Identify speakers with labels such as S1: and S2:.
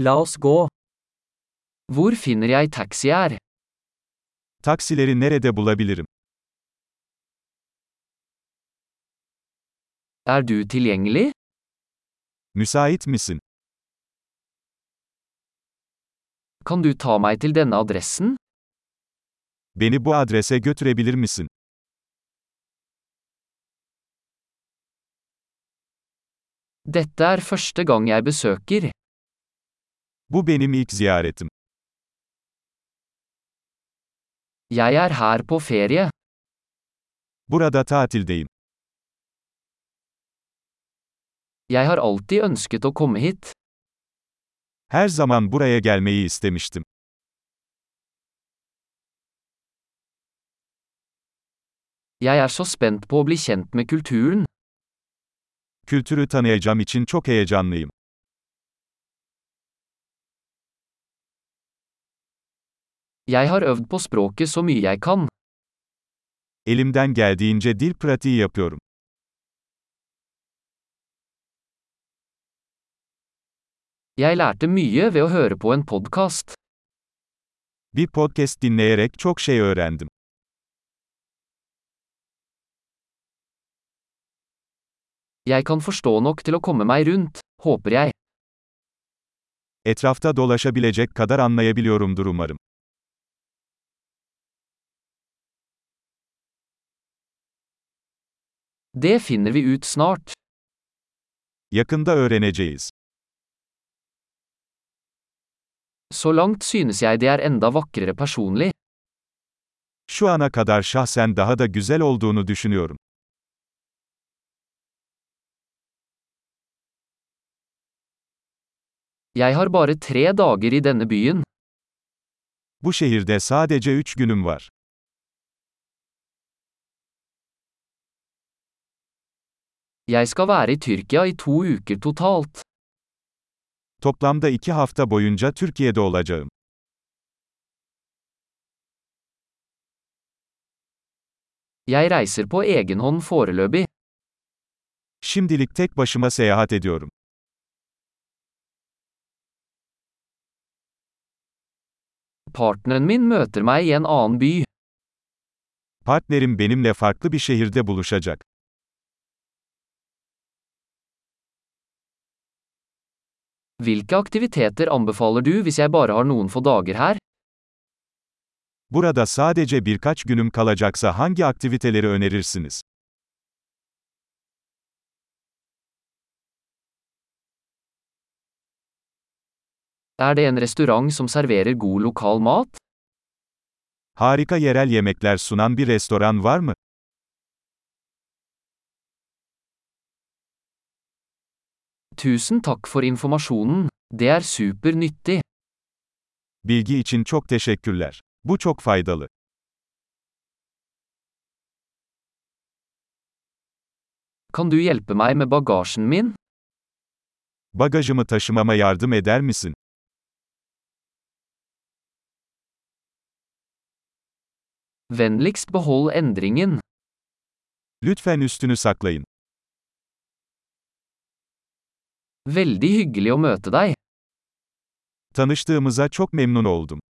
S1: La oss gå. Hvor finner jeg taxi her?
S2: Taksileri nerede bulabilirim?
S1: Er du tilgjengelig?
S2: Müsait misin?
S1: Kan du ta meg til denne adressen?
S2: Beni bu adrese götürebilir misin?
S1: Dette er første gang jeg besøker.
S2: Bu benim ilk ziyaretim.
S1: Jeg er her på ferie.
S2: Burada tatildeyim.
S1: Jeg har alltid ønsket å komme hit.
S2: Her zaman buraya gelmeyi istemiştim.
S1: Jeg er så spent på å bli kjent med kulturen.
S2: Kültürü tanıyacağım için çok heyecanlıyım.
S1: Jeg har øvd på språket så mye jeg kan.
S2: Elimden geldiğince dil pratiği yapıyorum.
S1: Jeg lærte mye ved å høre på en podkast.
S2: Bir podcast dinleyerek çok şey öğrendim.
S1: Jeg kan forstå nok til å komme meg rundt, håper jeg.
S2: Etrafta dolaşabilecek kadar anlayabiliyorumdur umarım.
S1: Det finner vi ut snart.
S2: Yakında öğreneceğiz.
S1: Så langt synes jeg det er enda vakrere personlig.
S2: Şu ana kadar şahsen daha da güzel olduğunu düşünüyorum.
S1: Jeg har bare tre dager i denne byen.
S2: Bu şehirde sadece 3 günüm var.
S1: Jeg skal være i Tyrkia i to uker totalt.
S2: Toplamda 2 hafta boyunca Türkiye'de olacağım.
S1: Jeg reiser på egen hånd foreløpig.
S2: Şimdilik tek başıma seyahat ediyorum.
S1: Partneren min møter meg i en annen by.
S2: Partnerim benimle farklı bir şehirde buluşacak.
S1: Hvilke aktiviteter anbefaler du hvis jeg bare har noen få dager her?
S2: Burada sadece birkaç günüm kalacaksa hangi aktiviteleri önerirsiniz?
S1: Er det en restaurant som serverer god lokal mat?
S2: Harika yerel yemekler sunan bir restoran var mı?
S1: Tusen takk for informasjonen. Det er supernyttig.
S2: Bilgi için çok teşekkürler. Bu çok faydalı.
S1: Kan du hjelpe meg med bagasjen min?
S2: Bagajımı taşımama yardım eder misin?
S1: Vennligst behold endringen.
S2: Lütfen üstünü saklayın.
S1: Veldig hyggelig å møte deg.
S2: Tanıştığımıza çok memnun oldum.